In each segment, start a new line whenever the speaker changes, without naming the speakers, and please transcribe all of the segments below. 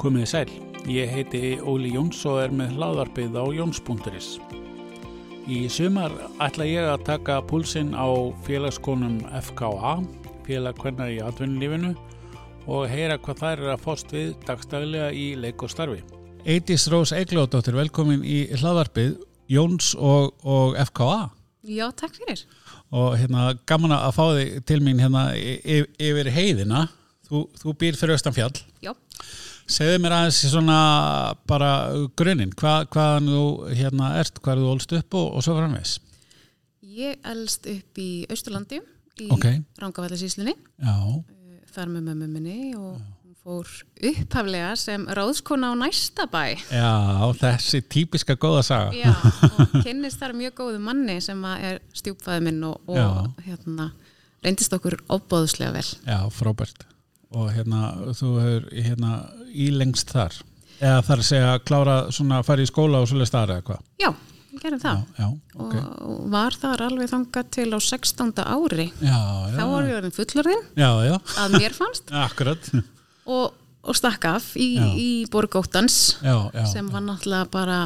Komiði sæl, ég heiti Óli Jóns og er með hlaðarpið á Jóns.is. Í sumar ætla ég að taka púlsinn á félagskonum FKA, félag kvenna í atvinnulífinu og heyra hvað þær eru að fóst við dagstaglega í leik og starfi. Eidís Rós Eglóðdóttir, velkomin í hlaðarpið Jóns og, og FKA
Já, takk fyrir.
og hérna gaman að fá þig til mín hérna yf- yfir heiðina. Þú, þú býr fyrir austan fjall.
Já.
Segðu mér aðeins í svona bara grunin, hva, hvaðan þú hérna ert, hvað þú ólst upp og, og svo framvegs.
Ég elst upp í Austurlandi í
Ok.
okay.
Já,
þar með mömmu minni og hún fór upphaflega sem ráðskona á næsta bæ.
já, þessi típiska góða saga.
Já, og kynnist þar mjög góðu manni sem að er stjúpfæði minn og, og hérna, reyndist okkur óbóðslega vel.
Já, frábært. Og hérna, þú hefur hérna ílengst þar. Eða þar að segja að klára svona að fara í skóla og svolítið staðar eða hvað.
Já, við gerum það.
Já, ok.
Og var þar alveg þangað til á 16. ári.
Já,
Þá
já,
var ég orðin fullorðin
já, já,
að mér fannst
akkurat.
og, og stakk af í,
Já.
í borgóttans.
Já, já,
sem var náttúrulega bara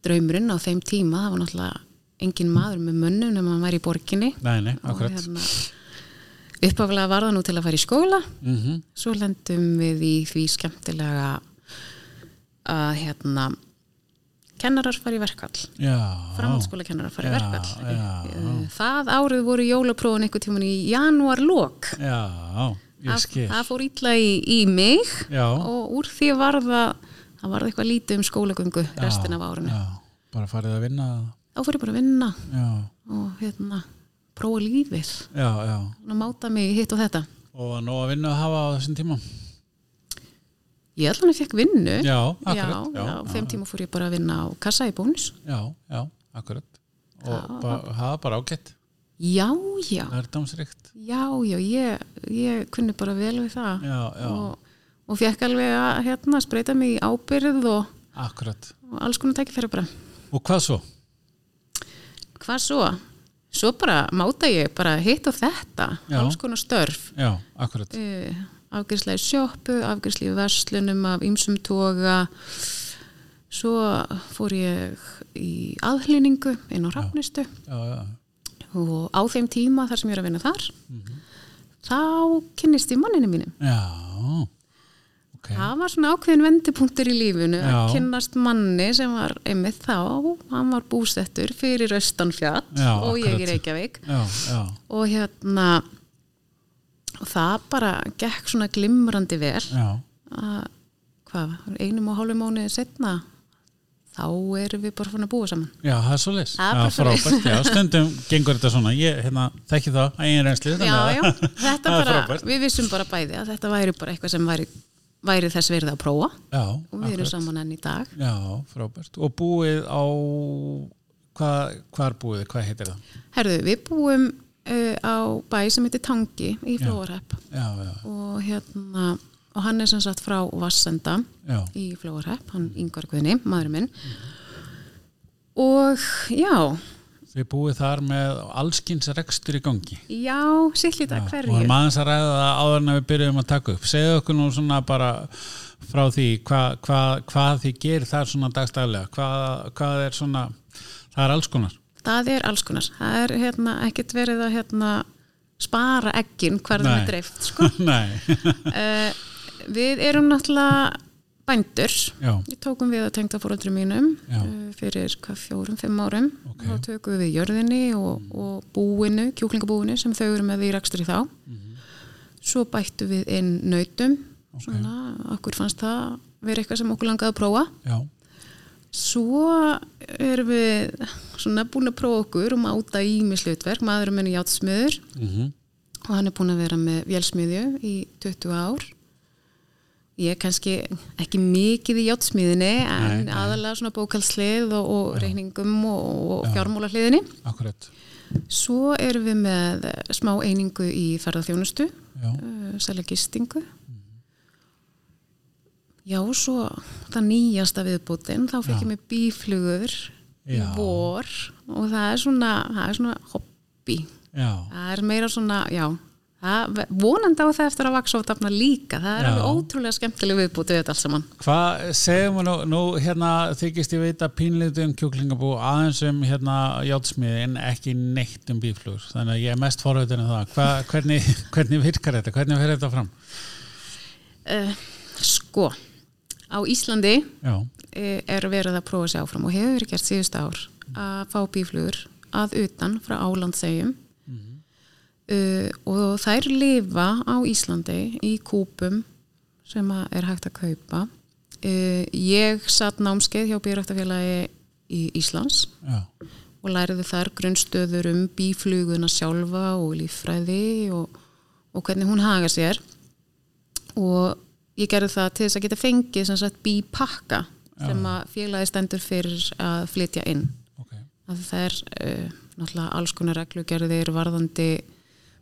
draumurinn á þeim tíma það var náttúrulega engin maður með mönnum nema hann væri í borginni
nei, nei,
Og
akkurat.
hérna, uppaflega var það nú til að fara í skóla
Mhm. Mm.
-hmm. svo lendum við í því skemmtilega að hérna kennarar fara í verkall
Já,
framhaldsskóla kennarar fara í
Já,
verkall
já,
það árið voru jólaprófun einhvern tíman í janúarlok
já, ég skil.
það fór ítla í, í mig
Já.
og úr því var það það var eitthvað lítið um skólagöngu restin af árinu.
Já, bara farið að vinna það.
Þá fór ég bara að vinna
Já,
og hérna, prófa lífið
já, já.
og máta mig í hitt og þetta.
Og var nóg að vinna að hafa á þessum tíma?
Ég allan að fekk vinnu.
Já,
já,
akkurat.
já, á þeim tíma fór ég bara að vinna á kassa í bónus.
Já, já, akkurat. Og ba hafa bara ágætt,
Já, já,
nærdámsrikt.
já, já, ég, ég kunni bara vel við það
Já, já,
og, og fekk alveg að hérna, spreita mig í ábyrð og,
akkurat.
og alls konar tækifæri bara.
Og hvað svo?
hvað svo? Svo bara máta ég bara hitt og þetta,
Já.
alls konar störf.
Já, akkurat.
Uh, afgjörsla í sjoppu, afgjörsla í verslunum af ymsum toga. Svo fór ég í aðhlýningu inn á rafnistu
Já, já,
og á þeim tíma þar sem ég er að vinna þar,
Mhm.
þá kynnist ég manninu mínum.
já, ok.
Það var svona ákveðin vendipunktur í lífinu
Já.
að kynnast manni sem var einmitt þá, hann var búsettur fyrir Östanfjall
Já,
og ég í
akkurat.
Reykjavík
Já, já,
og hérna og það bara gekk svona glimrandi vel
já,
að hvað, einum og hálfum mánuði setna þá erum við bara fann að búa saman
já, það er svo leys.
Það er bara
Já, frábært, já, stundum gengur þetta svona. Ég, hérna, þekki það, eigin reynslið.
já, já, þetta
Það er
bara,
frábært.
við vissum bara bæði að þetta væri bara eitthvað sem væri, væri þess verið að prófa
Já,
og við erum saman enn í dag
já, frábært. Og búið á, hvað, hvað er búið, hvað heitir það?
herðu, við búum uh, á bæ sem heitir Tangi í Flóarhepp
Já, já,
og hérna og hann er sem sagt frá Vassenda
já,
í Flóarhepp, hann yngvar Guðni, maðurinn minn
Mm.
og já
Þið búið þar með allskins rekstur í gangi.
já, sýllit að
Og við
hverju
erum aðeins að ræða það áður en að við byrjuðum að taka upp. Segðu okkur nú svona bara frá því hva, hva, hvað þið gerir þar svona dagstæðlega. Hvað, hvað er svona, það er alls konar.
það er alls konar, það er hérna, ekkert verið að hérna, spara ekkin hverðum
Nei.
er dreift sko.
Nei,
uh, við erum náttúrulega bændur
já,
við tókum við að tengta fóröldri mínum
Já.
uh, fyrir hvað fjórum, fimm árum
Ok. Mm.
þá tökum við jörðinni og, og búinu, kjúklingabúinu sem þau eru með í rekstri þá
Mhm.
svo bættu við inn nautum svona, okkur fannst það verið eitthvað sem okkur langaði að prófa
já,
Svo erum við svona búin að prófa okkur og máta ímislutverk, maðurum minni játsmiður
mm
og hann er búin að vera með vélsmiðju í 20 ár. Ég er kannski ekki mikið í játsmiðinni en aðalega svona bókalslið og, og reikningum og, og fjármóla hliðinni.
akkurat.
Svo erum við með smá einingu í ferðarþjónustu,
Já,
uh, selja gistingu. Já, svo það nýjasta viðbútin, þá fekk ég mig bíflugur í
Já.
vor og það er svona, það er svona hobby.
já,
Það er meira svona, já, það, vonandi á það eftir að vaksa og dafna líka, það er
Já.
alveg ótrúlega skemmtileg viðbútið þetta alls saman
Hvað segjum við nú, nú hérna þykist ég veit að pínlítið um kjúklingabú aðeins um hérna játsmiði en ekki neitt um bíflugur þannig að ég er mest forveitin um það Hva, hvernig, hvernig virkar þetta, hvernig fer þetta fram
uh, sko á Íslandi
Já,
eh, er verið að prófa sér áfram og hefur verið gert síðust ár að fá bíflugur að utan frá álandsegjum uh, og þær lifa á Íslandi í kúpum sem að er hægt að kaupa uh, ég satt námskeið hjá Bíræktafélagi í Íslands
já,
og læriði þar grunnstöður um bífluguna sjálfa og líffræði og, og hvernig hún haga sér og ég gerði það til þess að geta fengið sem sagt bípakka sem að félagi stendur fyrir að flytja inn
ok
að það er uh, náttúrulega alls konar reglugerðir varðandi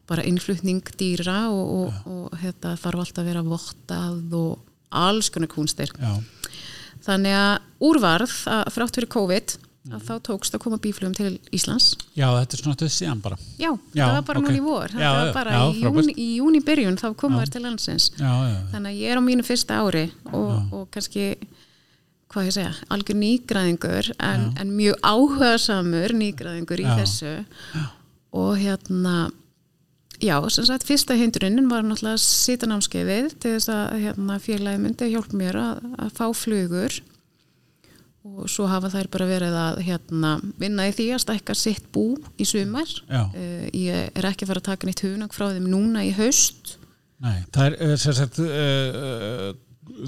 bara innflutning dýra og, og, og hérna, þarf alltaf að vera vottað og alls konar kúnstir
Já,
þannig að úrvarð að frátt fyrir COVID að þá tókst að koma bíflugum til Íslands
já þetta er svona þetta síðan bara
Já,
Já,
það var bara
ok.
núna í vor
Já, já,
það var bara
já,
í,
frábært.
jún, í júni byrjun þá komum þær til landsins
Já, já, já,
þannig að ég er á mínu fyrsta ári og, og kannski hvað ég segja, algjör nýgræðingur en, en mjög áhugasamur nýgræðingur í
Já.
þessu og hérna já, sem sagt, fyrsta hindrunin var náttúrulega sitanámskeiðið til þess að hérna, félagi myndi hjálpa mér að, að fá flugur og svo hafa þær bara verið að hérna, vinna í því að stækka sitt bú í sumar
já.
Uh, ég er ekki að fara að taka nýtt hunang frá þeim núna í haust
Nei, það er eh, sem sagt uh,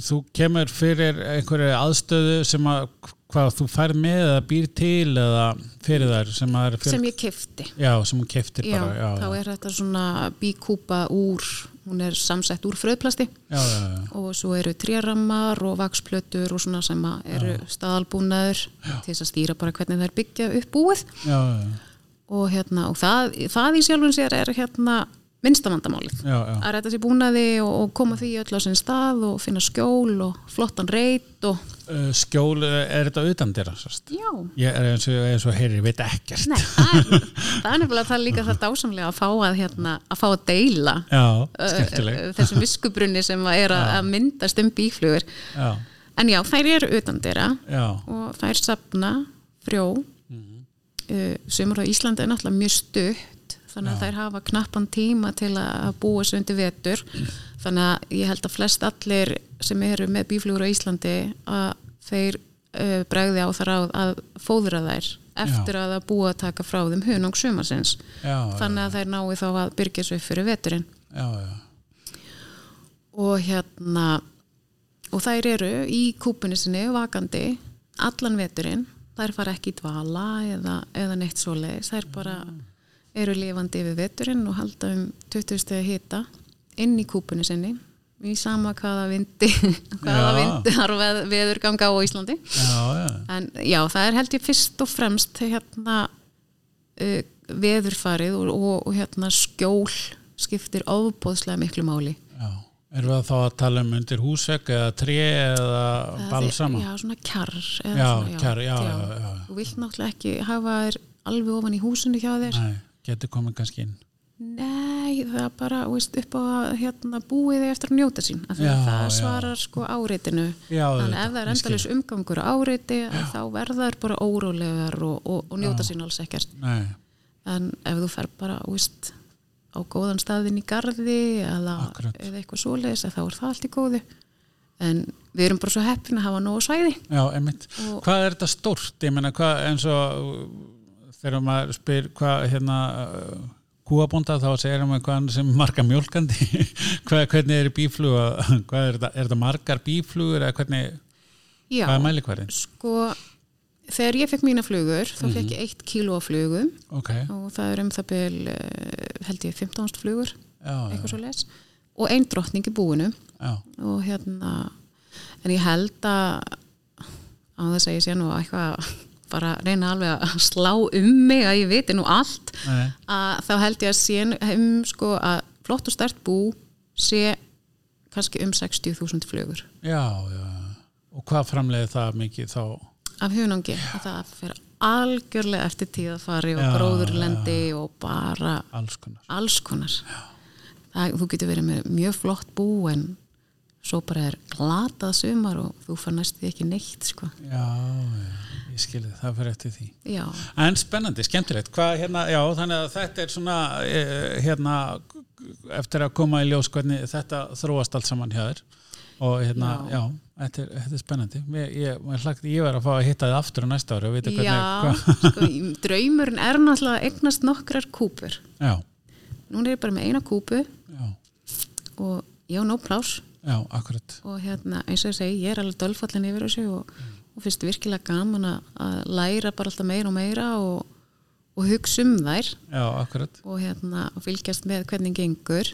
þú kemur fyrir einhverju aðstöðu sem að hvað þú fær með eða býr til eða fyrir þær sem að er fyrir,
sem ég kefti
já, sem hún keftir
já,
bara
þá er þetta svona bíkúpa úr hún er samsett úr fröðplasti
já, já, já,
og svo eru trérammar og vaksplötur og svona sem að eru staðalbúnaður til þess að stýra bara hvernig þær byggja upp búið
já, já,
og, hérna, og það, það í sjálfum sér er hérna minnstamandamálið
já, já.
að ræta sér búnaði og, og koma því öll á sinn stað og finna skjól og flottan reit og
Uh, skjól, eh, er þetta utan dyrra sérst?
já,
Ég er eins og, eins og heyri, ég veit ekkert
Nei, það er, það er nefnilega það líka það dásamlega að fá að, hérna, að fá að deila
Já,
ö,
skemmtileg
ö, þessum viskubrunni sem að er að, að myndast um bíflugur.
Já,
En já, þær eru utan dyrra
já,
og þær sapna frjó. Mm
Mhm.
Sumur á Íslandi er náttúrulega mjög stutt þannig að þær hafa knappan tíma til að búa sig undir vetur. Þannig að ég held að flest allir sem eru með bíflugur á Íslandi að þeir uh, bregði á þar að, að fóðra þær eftir að það búa að taka frá þeim hunang sumarsins.
já, já,
Þannig að þær nái þá að byrgja sig upp fyrir veturinn
já, já.
og hérna og þær eru í kúpunni sinni vakandi allan veturinn þær fara ekki í dvala eða, eða neitt svoleiðis, þær bara eru lifandi yfir veturinn og halda um 20 stegi hita inn í kúpunni sinni í sama hvaða vindi hvaða
Já.
vindi þar veð, veður ganga á Íslandi
já, já.
en já, það er held ég fyrst og fremst hérna uh, veðurfarið og, og, og hérna skjól skiptir ofbóðslega miklu máli
já. Erum við þá að tala um undir húsvegg eða tré eða
Það
balsama?
er- Já, svona kjarr eða
Já,
svona,
kjarr, já, já, já.
Þú vilt náttúrulega ekki hafa þér alveg ofan í húsinu hjá þér
Nei, getur komið kannski inn
Nei, það er bara þú veist, upp á að hérna, búið þig eftir að njóta sín af því
Já,
að það
já.
svarar sko áreitinu
Já, auðvitað,
Þannig ef það er
ég skil.
endalus umgangur á áreiti að þá verða þær bara órólegar og, og, og njóta sín alls ekkert
Nei,
en ef þú fer bara þú veist, á góðan staðin í garði eða,
Akkurat.
eða eitthvað svoleiðis að þá er það allt í góðu en við erum bara svo heppin að hafa nógu svæði
já, einmitt
Og-
Hvað er þetta stórt? Ég meina, hvað, eins og uh, þegar maður spyr hvað, hérna uh, kúabónda þá segir maður hvað hann sem marga mjólkandi hvað, hvernig er bífluga hvað er þetta, er þetta margar bíflugur eða hvernig,
Já,
hvað er mælikværin?
Sko, þegar ég fekk mína flugur,
Mhm.
þá fekk ég eitt kíló af flugum
Ok,
og það er um það byl, eh, held ég, 15 flugur,
já, já,
eitthvað svo og ein drottning í búinu
já,
og hérna, en ég held að, á þess að ég sé nú eitthvað, að bara reyna alveg að slá um mig að ég viti nú allt,
nei,
að þá held ég að sé um, sko, að flott og stert bú sé kannski um 60.000 flugur
já, já og hvað framleiði það mikið þá?
af hunangi að það fer algjörlega eftir tíð að fari og
Já,
gróðurlendi og bara
Alls konar
alls konar það, þú getur verið með mjög flott bú en svo bara er glatað sumar og þú far næstu ekki neitt sko.
já, já, ég skilði, það fyrir eftir því
Já,
En spennandi, skemmtilegt, hvað hérna, já, þannig að þetta er svona, eh, hérna, eftir að koma í ljós hvernig þetta þróast allt saman hjá þér og hérna, já,
Já.
þetta, er, þetta er spennandi. Ég, ég, ég, hlakka- ég verð að fá að hitta þið aftur á næsta ári og vita hvernig,
já sko, draumurinn er náttúrulega að eignast nokkrar kúpur.
já,
Núna er ég bara með eina kúpu
já,
og ég á nóg plás
já, akkurat,
og hérna, eins og ég segi, ég er alveg dölfallin yfir þessu og, og finnst virkilega gaman að- að læra bara alltaf meira og meira og, og hugsa um þær
já, akkurat,
og hérna, og fylgjast með hvernig gengur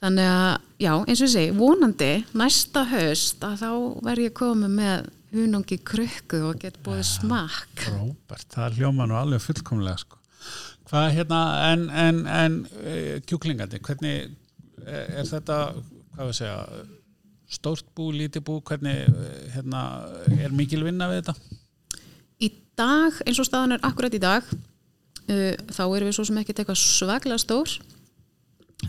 þannig að, já, eins og ég segi vonandi, næsta höst að þá verð ég komið með hunangi krukku og get búið smakk
Róbert, það hljóma nú alveg fullkomlega, sko. Hvað hérna, en, en, en, eh, kjúklingandi, hvernig eh, er þetta, hvað við segja, stórt bú, lítið bú, hvernig, eh, hérna, er mikil vinna við þetta?
í dag, eins og staðan er akkurat í dag uh, þá erum við svo sem ekkert eitthvað svaglega stór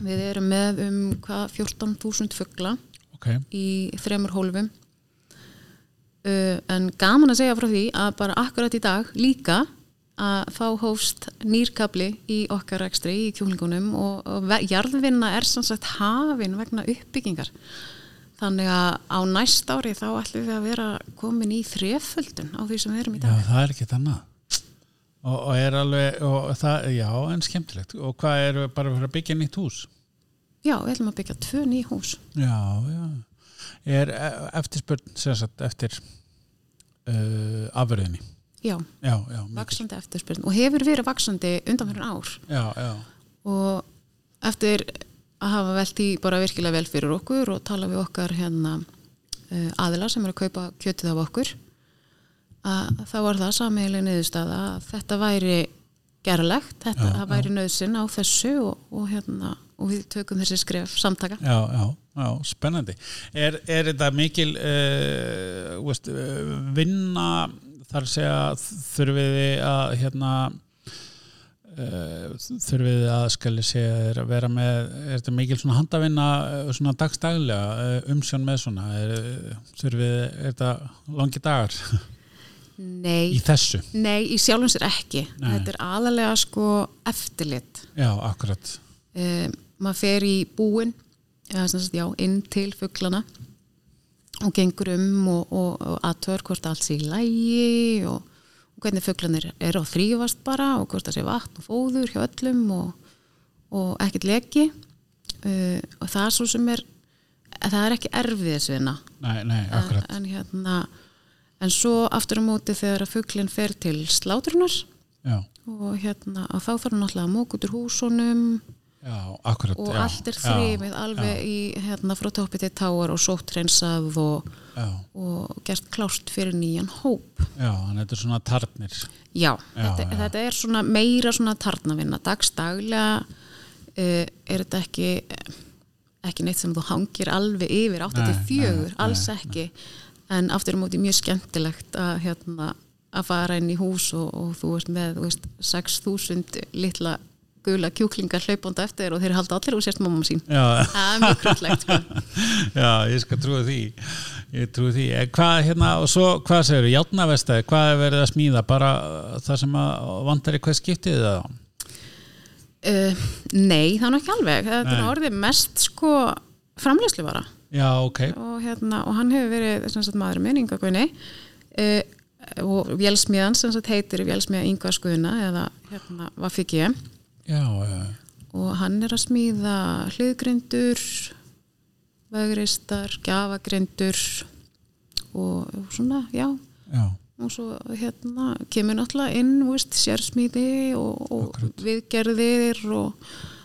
við erum með um hvað 14.000 fuggla
Ok,
í þremur hólfum uh, en gaman að segja frá því að bara akkurat í dag líka að þá hófst nýrkabli í okkar ekstri í kjúlingunum og, og ve- jarðvinna er sem sagt hafin vegna uppbyggingar þannig að á næst ári þá ætlum við að vera komin í þreföldun á því sem við erum í
já,
dag
það er ekkert annað. Og, og er alveg, og það, já, en skemmtilegt. Og hvað eru bara fyrir að byggja nýtt hús?
Já, við ætlum að byggja tvö ný hús
Já, já. Er eh, eftirspurn, sem sagt, eftir uh, afurðinni?
Já,
Já, já, mikil.
vaksandi eftirspyrn og hefur verið vaksandi undanfyrir ár
já, já.
og eftir að hafa velt því bara virkilega vel fyrir okkur og tala við okkar hérna eh, aðila sem er að kaupa kjötið af okkur að þá var það sameiginlega niðurstaða að þetta væri gerlegt, þetta
Já,
það væri nöðsinn á þessu og, og hérna og við tökum þessi skref samtaka
já, já, já, spennandi er, er þetta mikil uh, veist, eh, vinna þar að segja þurfið þið að hérna uh, þurfið þið að skali segja þér að vera með er þetta mikil svona handavinna eh, svona dagstaglega uh, umsjón með svona er, eh, þurfið þið, er þetta langi dagar
Nei,
í þessu
nei, í sjálfum sér ekki
Nei.
þetta er aðalega sko eftirlit
já, akkurat
um, maður fer í búin eða sem sagt já, inn til fugglana og gengur um og, og, og aðtör hvort allt sé í lægi og, og hvernig fugglanir eru að þrýfast bara og hvort það sé vatn og fóður hjá öllum og, og ekkert leki uh, og það er svo sem er það er ekki erfiðisvinna
nei, nei, akkurat
en hérna en svo aftur á móti þegar að fugglin fer til slátrunar
já,
og hérna að þá þarf hann alltaf að mók út úr húsunum
já, akkurat
og
já,
allt er
já,
þrýmið alveg í hérna frá toppi til táar og sóttreinsað og,
já,
og gert klárt fyrir nýjan hóp
já, þannig að þetta er svona tarnir
já, þetta, þetta er svona meira svona tarnavinna, dagstaglega uh, er þetta ekki ekki neitt sem þú hangir alveg yfir 84,
Nei, nei,
alls ekki en aftur á móti mjög skemmtilegt að hérna að fara inn í hús og, og þú ert með þú veist, 6.000 litla gula kjúklingar hlaupanda eftir þér og þeir halda allir og sérst mamma sín
já,
Það er mjög krútlegt sko.
Já, ég skal trúi því ég trúi því, en hvað hérna og svo, hvað segir þú, játnavestaði, hvað er verið að smíða bara uh, það sem að vantar í hvað skiptið þið það
Uh, nei, það er nú ekki alveg. Þetta er
Nei.
orðið mest sko framleyslu bara
Já, ok,
og, hérna, og hann hefur verið sem sagt, maður minn Inga Guðni uh, og vélsmiðan sem sagt, heitir vélsmiða Inga Skuðna eða hérna, hvað fikk ég
já, já
og hann er að smíða hliðgrindur, vegristar, gjafagrindur og svona, já,
Já,
og svo hérna kemur náttúrulega inn þú veist, sérsmíði og, og viðgerðir og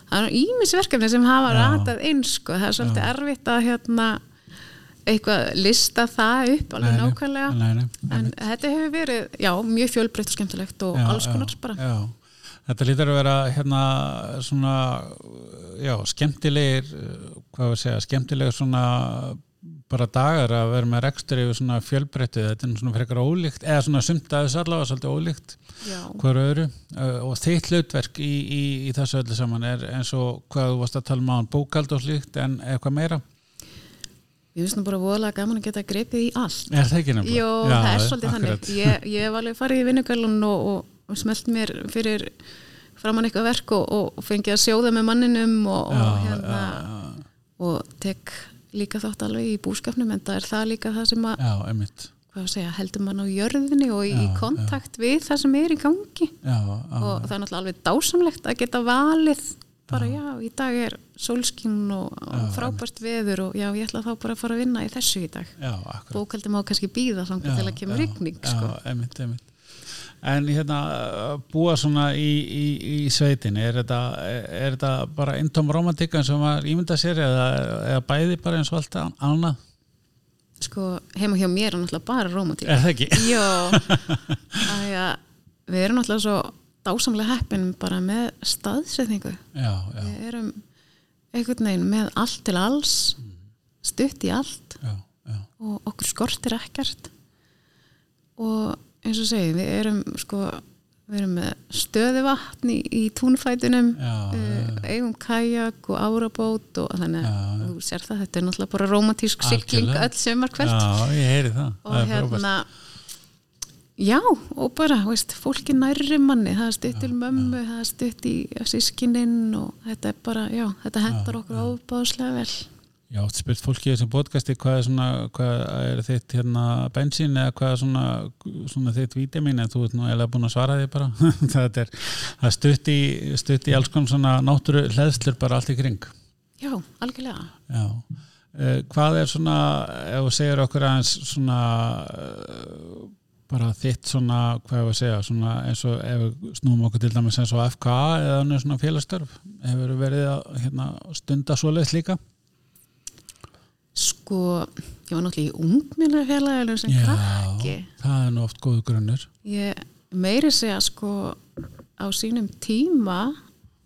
það er ímisverkefni sem hafa ratað inn sko, það er svolítið erfitt að hérna eitthvað lista það upp alveg
Nei, nei.
nákvæmlega
Nei, nei,
en þetta hefur verið, já, mjög fjölbreytt og skemmtilegt og
já,
alls konar
já,
bara
Já, þetta lítur að vera hérna svona, já, skemmtilegir uh, hvað við segja, skemmtilegir svona bara dagar að vera með rekstur yfir svona fjölbreytið, þetta er svona frekar ólíkt eða svona sumt aðeins allavega svolítið ólíkt
já,
hver öðru uh, og þitt hlutverk í, í, í þessu öllu saman er eins og hvað þú varst að tala um án bókald og slíkt en eitthvað meira
ég finnst nú bara voðalega gaman að geta grepið í allt
er það ekki nefnilega?
Jó,
Já,
það er svolítið
akkurat.
þannig ég, ég hef alveg farið í vinnukvælun og, og, og smelt mér fyrir framann eitthvað verk og, og fengið að sjóða með manninum og, og
Já,
hérna og tek líka þátt alveg í búskapnum en það er það líka það sem að
Já, einmitt
hvað að segja, heldur mann á jörðinni og í
Já, já.
kontakt við það sem er í gangi
Já, já,
og það er náttúrulega alveg dásamlegt að geta valið bara já, í dag er sólskinn og og frábært veður og já, ég ætla þá bara að fara að vinna í þessu í dag
já, akkurat
bókaldi má kannski býða þangar til að kemur rigning
já,
sko.
einmitt, einmitt. En hérna, að búa svona í, í, í sveitinni, er þetta, er þetta bara intóm romantikan sem maður ímynda sér eða, eða bæði bara eins og allt an- annað?
sko, heima hjá mér er náttúrulega bara rómatík
Er það ekki?
já, að já við erum náttúrulega svo dásamlega heppin bara með staðsetningu
Já, já,
við erum einhvern veginn með allt til alls
Mm.
stutt í allt
já, já,
og okkur skortir ekkert og eins og segi við erum sko við erum með stöðuvatn í, í túnfætunum
Já,
eh, eigum kajak og árabót og þannig að þú sér það, þetta er náttúrulega bara romantísk sigling
Algjörlega.
öll sömar hvert
já, ég heyri það. það
og
er frábært.
hérna já, og bara, veist, fólki nærri manni það er stutt til mömmu, það er stutt í sískininn og þetta er bara já, þetta hendar okkur ofbáslega vel
Já, oft spurt fólki í þessum podcasti hvað er, svona, hvað er þitt hérna bensín eða hvað er svona, svona þitt vítamin en þú ert nú eða búin að svara því bara það er, það er stutt, í, stutt í alls konum svona náttúru hleðslur bara allt í kring
já, algjörlega
Já eh, Hvað er svona, ef þú segir okkur aðeins svona eh, bara þitt svona, hvað hefur að segja svona eins og ef við snúum okkur til dæmis eins og FKA eða önnur svona félagstörf hefur verið að hérna, stunda svoleiðs líka?
sko, ég var náttúrulega í ungminnafélaginu sem krakki
það er nú oft góðu grunnur.
ég meiri segja sko á sínum tíma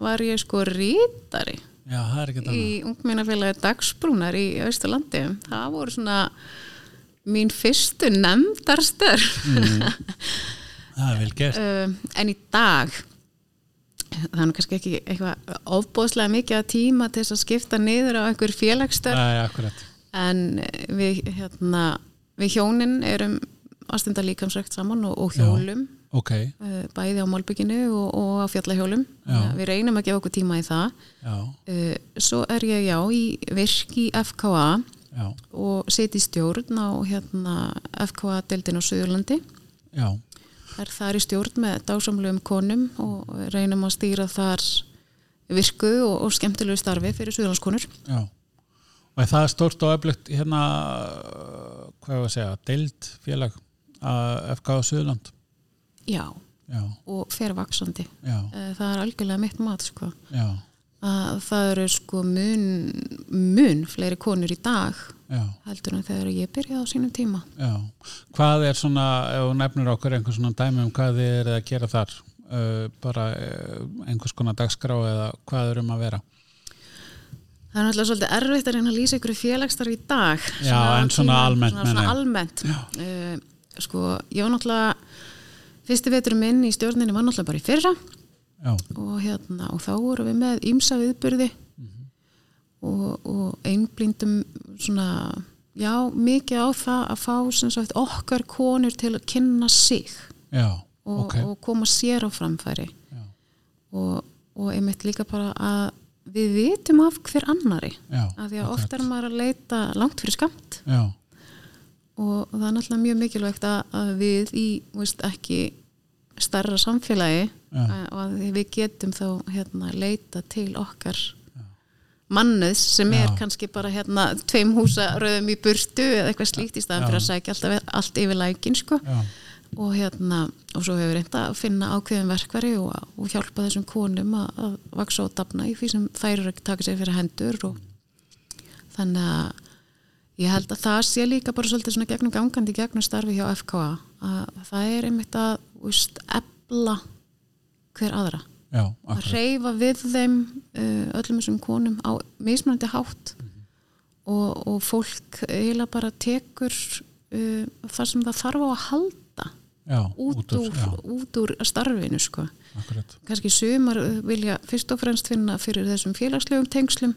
var ég sko rítari
Já, það er ekki þannig.
í ungminnafélagi Dagsbrúnar í Östurlandi það voru svona mín fyrstu nefndarstörf
Það er vel gert.
um, en í dag það er nú kannski ekki eitthvað ofbóðslega mikið að tíma til þess að skipta niður á einhver félagsstörf
Það er akkurat.
en eh, við, hérna, við hjónin erum aðstunda líkamsrækt saman og, og hjólum
Ok,
eh, bæði á málbygginu og, og á fjallahjólum
Já.
við reynum að gefa okkur tíma í það
já,
Eh, svo er ég já í virk í FKA
já,
og sit í stjórn á hérna, FKA-deildin á Suðurlandi
já,
er þar í stjórn með dásamlegum konum og reynum að stýra þar virku og, og skemmtilegu starfi fyrir Suðurlandskonur
já. Og er það er stórt og öflugt hérna, uh, hvað er að segja, deild félag að FK á Suðurland.
já,
Já,
og fer vaksandi
já,
Eh, það er algjörlega mitt mat sko.
já,
að það eru sko mun, mun fleiri konur í dag
já.
heldur en þegar ég byrjaði á sínum tíma
Já, hvað er svona, ef þú nefnir okkur einhver svona dæmi um hvað þið er að gera þar, uh, bara uh, einhvers konar dagskrá eða hvað er um að vera?
Það er náttúrulega svolítið erfitt að reyna að lýsa ykkur félagstarf í dag.
Já, en svona
tíma-
almennt,
Svona,
meina
svona
ég.
almennt. Uh, sko, ég var náttúrulega, fyrsti vetur minn í stjórninni var náttúrulega bara í fyrra
Já,
og, hérna, og þá vorum við með ímsa viðbyrði
Mhm.
og, og einblindum svona, já, mikið á það að fá sem sagt okkar konur til að kynna sig
já,
og,
ok,
og koma sér á framfæri
já,
og, og einmitt líka bara að við vitum af hver annari
já,
að því að oft er maður að leita langt fyrir skamt
já,
og það er náttúrulega mjög mikilvægt að, að við í, þú veist, ekki starra samfélagi
Já.
að, og að við getum þá hérna leita til okkar mannuð sem er
Já.
kannski bara hérna tveim húsa rauðum í burtu eða eitthvað slíkt í staðan
Já.
fyrir að sækja alltaf allt yfir lækin sko
já.
og hérna og svo hefur reynda að finna ákveðin verkveri og, og hjálpa þessum konum að, að vaksa og dafna í því sem þær eru að taka sér fyrir hendur og þannig að ég held að það sé líka bara svolítið svona gegnum gangandi gegnum starfi hjá FKA að það er einmitt að úst, ebla hver aðra
Já,
að
akkurat.
reyfa við þeim uh, öllum þessum konum á mismunandi hátt og, og fólk eiginlega bara tekur uh, það sem það þarf á að halda
já,
út úr,
já,
út úr starfinu sko.
akkurat
kannski sumar uh, vilja fyrst og fremst finna fyrir þessum félagslegum tengslum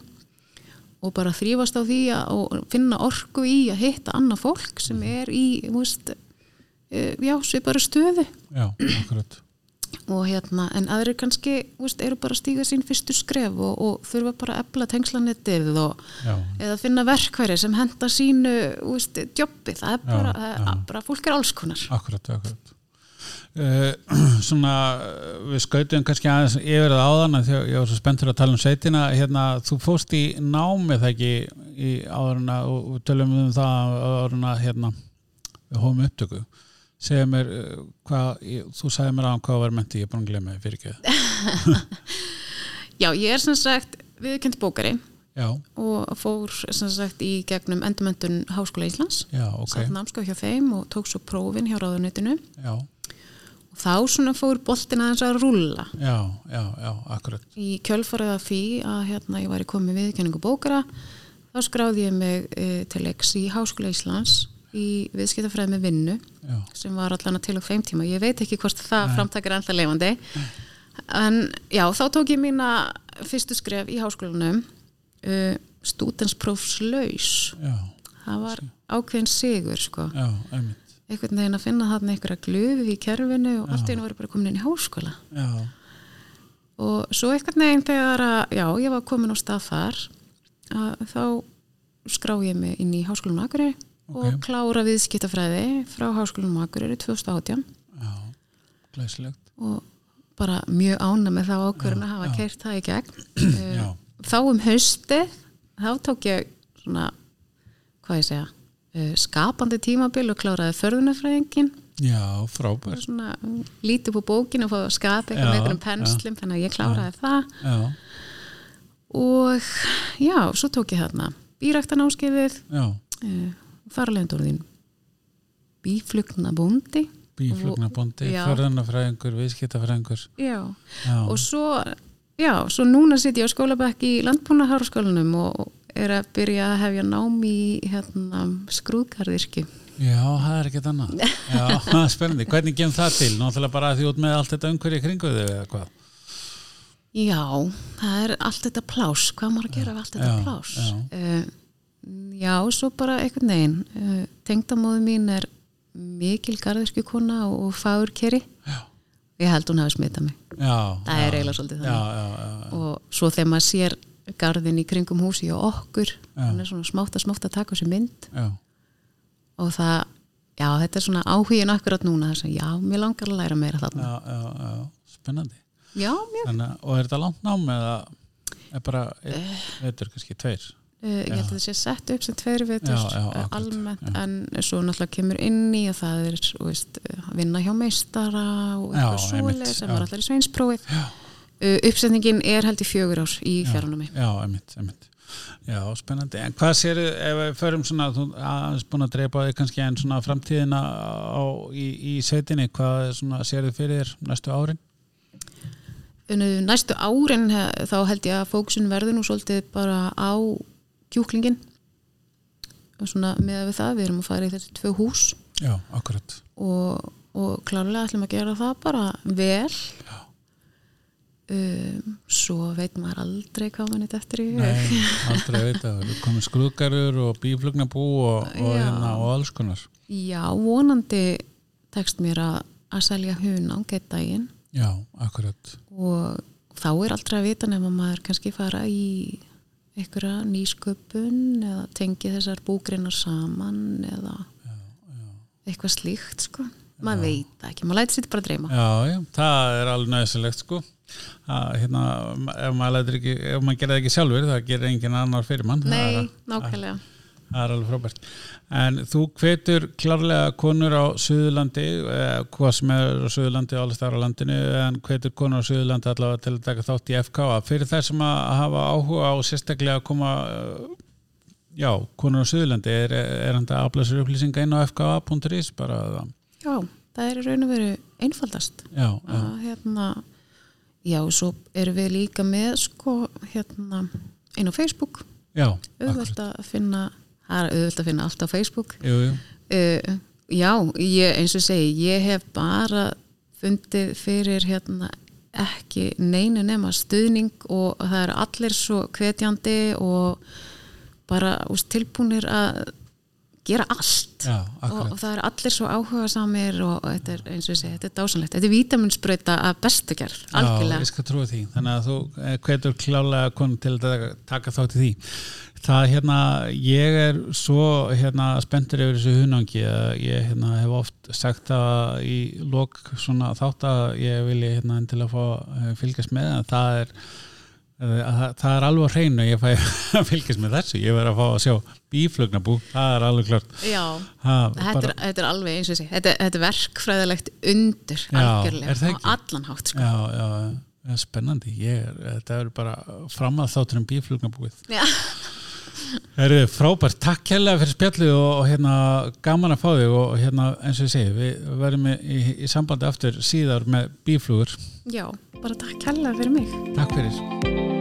og bara þrýfast á því að og finna orku í að hitta annað fólk sem er í þú veist, uh, já, svipara stöðu
já, akkurat
og hérna, en aðrir kannski þú veist, eru bara að stíga sín fyrstu skref og, og þurfa bara að ebla tengslanettið og
já,
eða finna verkværi sem henda sínu þú veist, djópi, það er
Já,
bara,
já.
já. bara fólk er alls konar
akkurat, akkurat Uh, svona eh, við skautum kannski aðeins yfir það áðan af því að ég var svo spenntur að tala um sveitina hérna, þú fóst í námi það ekki í áðurna og og tölum um það áðurna hérna við hófum upptöku segja mér eh, hvað, ég, þú sagði mér aðan hvað var menti, ég er búin að glemja fyrir ekki já,
já, ég er sem sagt viðkend bókari
já,
og fór sem sagt í gegnum endumöndun Háskóla Íslands
ok
satt námskáð hjá þeim og tók svo prófin hjá ráðunitinu
já,
og þá svona fór boltin aðeins að rúlla
já, já, já, akkurat
í kjölfarið af því að hérna ég væri komið viðkenningu bókara þá skráði ég mig e, til leiks í Háskóla Íslands í viðskiptafræði með vinnu
já,
sem var allan að til og þeim tíma ég veit ekki hvort það framtak er ennþá leifandi en já, þá tók ég mína fyrstu skref í háskólanum uh, stúdensprófslaus
já,
það var ákveðin sigur sko.
já, einmitt
einhvern veginn að finna þarna einhverja glöfu í kerfinu og allt í einu voru bara komin inn í háskóla
já,
og svo einhvern veginn þegar að, já, ég var komin á stað þar að, þá skrá ég mig inn í háskólanum Akureyri og klára viðskiptafræði frá háskólanum Akureyri 2018
já, glæsilegt
og bara mjög ána með þá ákvörðun að hafa keirt það í gegn Eh,
Já.
þá um haustið þá tók ég svona hvað ég segja, eh, skapandi tímabil og kláraði förðunafræðingin
já, frábær
svona mm, lítið upp á bókinu og fóði að skapa eitthvað
Já,
með einhverjum penslum þannig að ég kláraði það
já,
og já, svo tók ég þarna eh, býræktan áskeiðið
já,
þarlegend orðin bíflugnabóndi
bíflugnabóndi,
Já.
förðunafræðingur, viðskiptafræðingur
já
já,
og svo, já, svo núna sitt ég á skólabekk í landbúnaháraskólanum og er að byrja að hefja nám í hérna, skrúðgarðirkju
já, það er ekkert annað já, spennandi, hvernig gem það til náttúrulega bara því út með allt þetta umhverju kringu þau eða hvað
Já, það er allt þetta plás hvað á maður að gera af allt þetta
já,
plás
já.
já. já, svo bara einhvern veginn uh, tengdamóðu mín er mikil garðirkju kona og, og fagur keri
já,
ég held hún hafi smitað mig
já,
það er eiginlega svolítið
já,
þannig
já, já,
og svo þegar maður sér garðin í kringum húsi og okkur hann er svona smátt að smátt að taka á sér mynd
já,
og það, já, þetta er svona áhugin akkurat núna, þess að já, mér langar að læra meira þarna.
já, já, já, spennandi
Já, mjög,
Þannig, að- og er þetta langt nám eða er bara einn
Eh.
veitur kannski tveir
uh, ég held að það sé sett upp sem tveir vetur
Já, já,
eh,
akkurat,
almennt, en svo náttúrulega kemur inn í að það er, þú veist, eh, að vinna hjá meistara og
Já,
eitthvað
einmitt,
svoleið sem
já.
var allar í sveinsprófið. Uh, uppsetningin er held í fjögur ár í fjárnámi.
Já, einmitt, einmitt Já, spennandi, en hvað sér ef við förum svona, þú aðeins búin að dreipa þig kannski en svona framtíðina á, í, í sveitinni, hvað svona sér þið fyrir þér næstu árin?
En, eh, Næstu árin eh, þá held ég að fókusin verður nú svolítið bara á kjúklingin og svona með við það, við erum að fara í þessi tvö hús
Já, akkurat
og, og klárlega ætlum að gera það bara vel um, svo veit maður aldrei hvað mann er eftir í hug.
Nei, aldrei að vita, við komum skrúðgarur og bíflugnabú og, og,
Já.
hérna, og alls konar
já, vonandi tekst mér að, að selja hunang eitt daginn
Já, akkurat
og þá er aldrei að vita nema maður kannski fara í einhverja nýsköpun eða tengi þessar búgreinar saman eða eitthvað slíkt sko maður veit það ekki, maður læti sér bara að dreyma
Já, já, það er alveg nöðsilegt sko að hérna, ef maður, lætur ekki, ef maður gerir það ekki sjálfur, það gerir engin annar fyrir mann Það er
nei,
að-
nákvæmlega
Það er alveg frábært. En þú hvetur klarlega konur á Suðurlandi, eh, hvað sem er á Suðurlandi og alveg þar á landinu, en hvetur konur á Suðurlandi allavega til að taka þátt í FK. Fyrir þær sem að hafa áhuga á sérstaklega að koma, eh, já, konur á Suðurlandi, er, er hann að afla sér upplýsinga inn á fka.is bara? eða?
Já, það er í raun og veru einfaldast
Já, já,
að hérna já, svo erum við líka með sko, hérna, inn á Facebook
já,
auðvöld að finna það er auðvöld að finna allt á Facebook
jú, jú.
uh, já, ég, eins og segi ég hef bara fundið fyrir hérna ekki neinu nema stuðning og það eru allir svo hvetjandi og bara úst, tilbúnir að gera allt
Já,
og,
akkurat.
og það eru allir svo áhuga samir og, og þetta er eins og ég segi, þetta er dásanlegt þetta er vítamunnsbreyta að bestu gerð
Já, ég
algjörlega,
skal trúa því. Þannig að þú eh, hvetur klálega konu til að taka- taka þátt í því. Það hérna, ég er svo hérna spenntur yfir þessu hunangi að ég hérna hef oft sagt að í lok svona þátt að ég vilji hérna til að fá eh, fylgjast með en það er eh, að það- það er alveg á hreinu ég fæ að fylgjast með þessu, ég verð að fá að sjá bíflugnabú, það er alveg klart
já
Ha,
Þetta,
bara-
er, þetta er alveg eins og sé, þetta, þetta er verkfræðilegt undur
Já, er það
algjörlega
ekki?
á allan hátt sko.
Já, já, það er spennandi ég er, þetta er bara fram að þáttur um bíflugnabúið
Já.
Herru, frábært, takk kærlega fyrir spjallið og, og hérna gaman að fá þig og hérna eins og ég segi, við verðum í, í, í sambandi aftur síðar með bíflugur.
Já, bara takk hella fyrir mig.
Takk fyrir.